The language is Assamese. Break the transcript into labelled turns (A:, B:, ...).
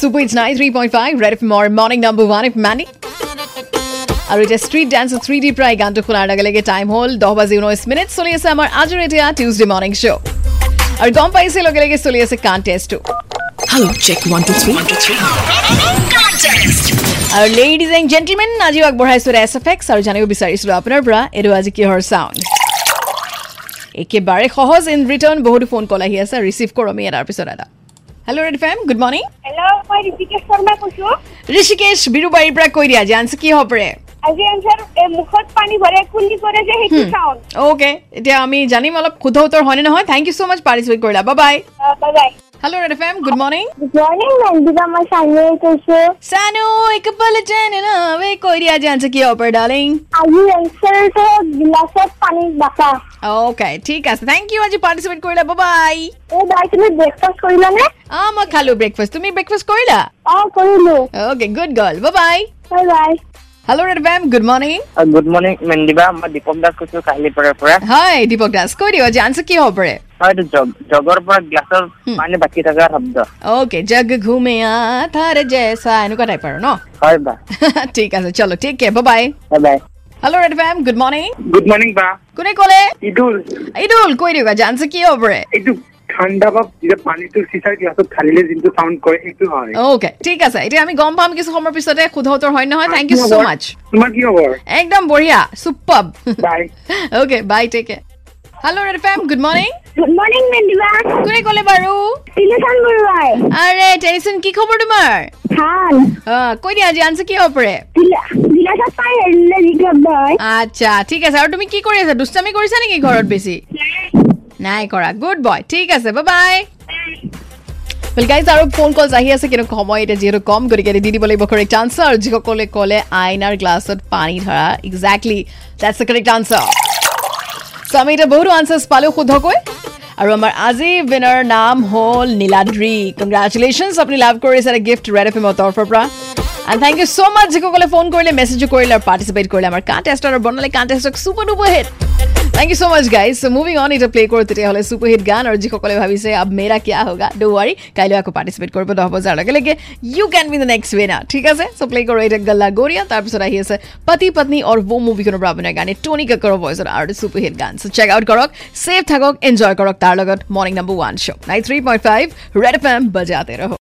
A: Super it's nine three point five red F মৰ মৰ্নিং নাম্বাৰ ওৱান এফ মানি আৰু এতিয়া ষ্ট্ৰীট ডান্স থ্ৰী ডি প্ৰায় গানটো শুনাৰ লগে লগে টাইম হ'ল দহ বাজি ঊনৈছ মিনিট চলি আছে আমাৰ আজিৰ এতিয়া টিউজডে মৰ্ণিং শ্ব' আৰু গম পাইছে লগে লগে চলি আছে কণ্টেষ্টটো
B: Hello, check one, two, three. One, two, three.
A: আৰু লেডিজ এণ্ড জেণ্টলমেন আজিও আগবঢ়াইছোঁ এছ এফ এক্স আৰু জানিব বিচাৰিছিলোঁ আপোনাৰ পৰা এইটো আজি কিহৰ চাউণ্ড একেবাৰে সহজ ইন ৰিটাৰ্ণ বহুতো ফোন কল আহি আছে ৰিচিভ কৰোঁ আমি এটাৰ পিছত এটা hello' red FM good morning
C: hello' মই ঋষিকেশ শৰ্মাই কৈছোঁ
A: ঋষিকেশ বিৰুবাৰীৰ পৰা কৈ দিয়া যে আনচাৰ কি হ'ব পাৰে
C: আজি এনচাৰ মুখত পানী ভৰে কুলি কৰে যে সেইটো চাওঁ
A: অ'কে এতিয়া আমি জানিম অলপ শুদ্ধ উত্তৰ হয়নে নহয় thank you so' much participate কৰিলা বা bye
C: bye bye
A: hello' red F M good morning
C: good morning Nandita মই চানীয়ে কৈছোঁ
A: চানু একবাৰ জাননাৱে কৈ দিয়া যে আনচাৰ কি হ'ব পাৰে ডাৰ্লিং
C: আজি এনচাৰটো গিলাচত পানী বাচা
A: অ'কে ঠিক আছে থেংক ইউ আজি পাৰ্টিচিপেট কৰিলা বা বাই
C: এই বাই তুমি ব্ৰেকফাষ্ট কৰিলানে
A: অঁ মই খালোঁ ব্ৰেকফাষ্ট তুমি ব্ৰেকফাষ্ট কৰিলা
C: অঁ কৰিলোঁ
A: অ'কে গুড গাৰ্ল বা bye
C: bye bye
A: hello' red ma'am good morning
D: good morning মেণ্ডিবা মই দীপক দাস কৈছো কাহিলীপাৰাৰ পৰা
A: হয় দীপক দাস কৈ দিব যে আনচাৰ কি হ'ব পাৰে
D: হয় এইটো জগ- জগৰ পৰা গ্লাছৰ পানী বাকী থকা শব্দ
A: অ'কে জগ ঘুমেয়া থাৰ জেচা এনেকুৱা টাইপ আৰু ন
D: হয় বা
A: ঠিক আছে চলো ঠিক কে bye
D: bye bye
A: hello' red ma'am good morning
E: good morning बा
A: কোনে ক'লে
E: इदुल
A: এইডুল কৈ দিবা যে আনচাৰ কি হ'ব পাৰে
E: এইটো ঠাণ্ডা বা যেতিয়া পানীটো চিচাৰ গিলাচত ঢালিলে যোনটো চাউণ্ড কৰে সেইটো হয়
A: অ'কে ঠিক আছে এতিয়া আমি গম পাম কিছু সময়ৰ পিছতে শুদ্ধ উত্তৰ হয় নে নহয় থেংক ইউ ছ' মাছ
E: তোমাৰ কি খবৰ
A: একদম বঢ়িয়া চুপাব
E: বাই
A: okay bye take care hello' red ma'am good morning
C: good morning মেণ্ডিবা
A: কোনে ক'লে বাৰু
C: তিলোচন বৰুৱাই
A: আৰে টেনিচন কি খবৰ তোমাৰ
C: ভাল
A: অঁ, কৈ দিয়া যে আনচাৰ কি হ'ব পাৰে
C: গিলা- গিলাচত পানী ঢালিলে যি শব্দ হয়
A: আচ্ছা ঠিক আছে আৰু তুমি কি কৰি আছা দুষ্টামি কৰিছা নেকি ঘৰত বেছি নাই কৰা গুড বয় ঠিক আছে বা বাই ৱেল গাইজ আৰু ফোন কলছ আহি আছে কিন্তু সময় এতিয়া যিহেতু কম গতিকে এতিয়া দি দিব লাগিব কাৰেক্ট আনচাৰ আৰু যিসকলে ক'লে আইনাৰ গ্লাছত পানী ধৰা exactly that's the correct answer so' আমি এতিয়া বহুতো আনচাৰ্ছ পালোঁ শুদ্ধকৈ আৰু আমাৰ আজি উইনাৰ নাম হ'ল নীলাদ্ৰী কংগ্ৰেচুলেশ্যনছ আপুনি লাভ কৰিছে এটা গিফ্ট ৰেড এফ এমৰ তৰফৰ পৰা and thank you so' much যিসকলে ফোন কৰিলে মেছেজো কৰিলে আৰু পাৰ্টিচিপেট কৰিলে আমাৰ কাণ্টেষ্ট আৰু বনালে কাণ্টেষ্টক super duper hit thank you so' much guys so' moving on এতিয়া প্লে' কৰোঁ তেতিয়াহ'লে চুপাৰ হিট গান আৰু যিসকলে ভাবিছে আব মেৰা কিয়া হোগা ডো ৱাৰী কাইলৈ আকৌ পাৰ্টিচিপেট কৰিব দহ বজাৰ লগে লগে you can be the next winner ঠিক আছে চ' প্লে' কৰোঁ এতিয়া গল্লা গৰিয়া তাৰপিছত আহি আছে পতি পত্নী অৰ ৱো মুভিখনৰ পৰা আপোনাৰ গানে টনি কাকৰৰ ভইচত আৰু এটা চুপাৰ হিট গান চ' চেক আউট কৰক ছেভ থাকক এনজয় কৰক তাৰ লগত morning number one show' nine three point five red F M বজাতে ৰহ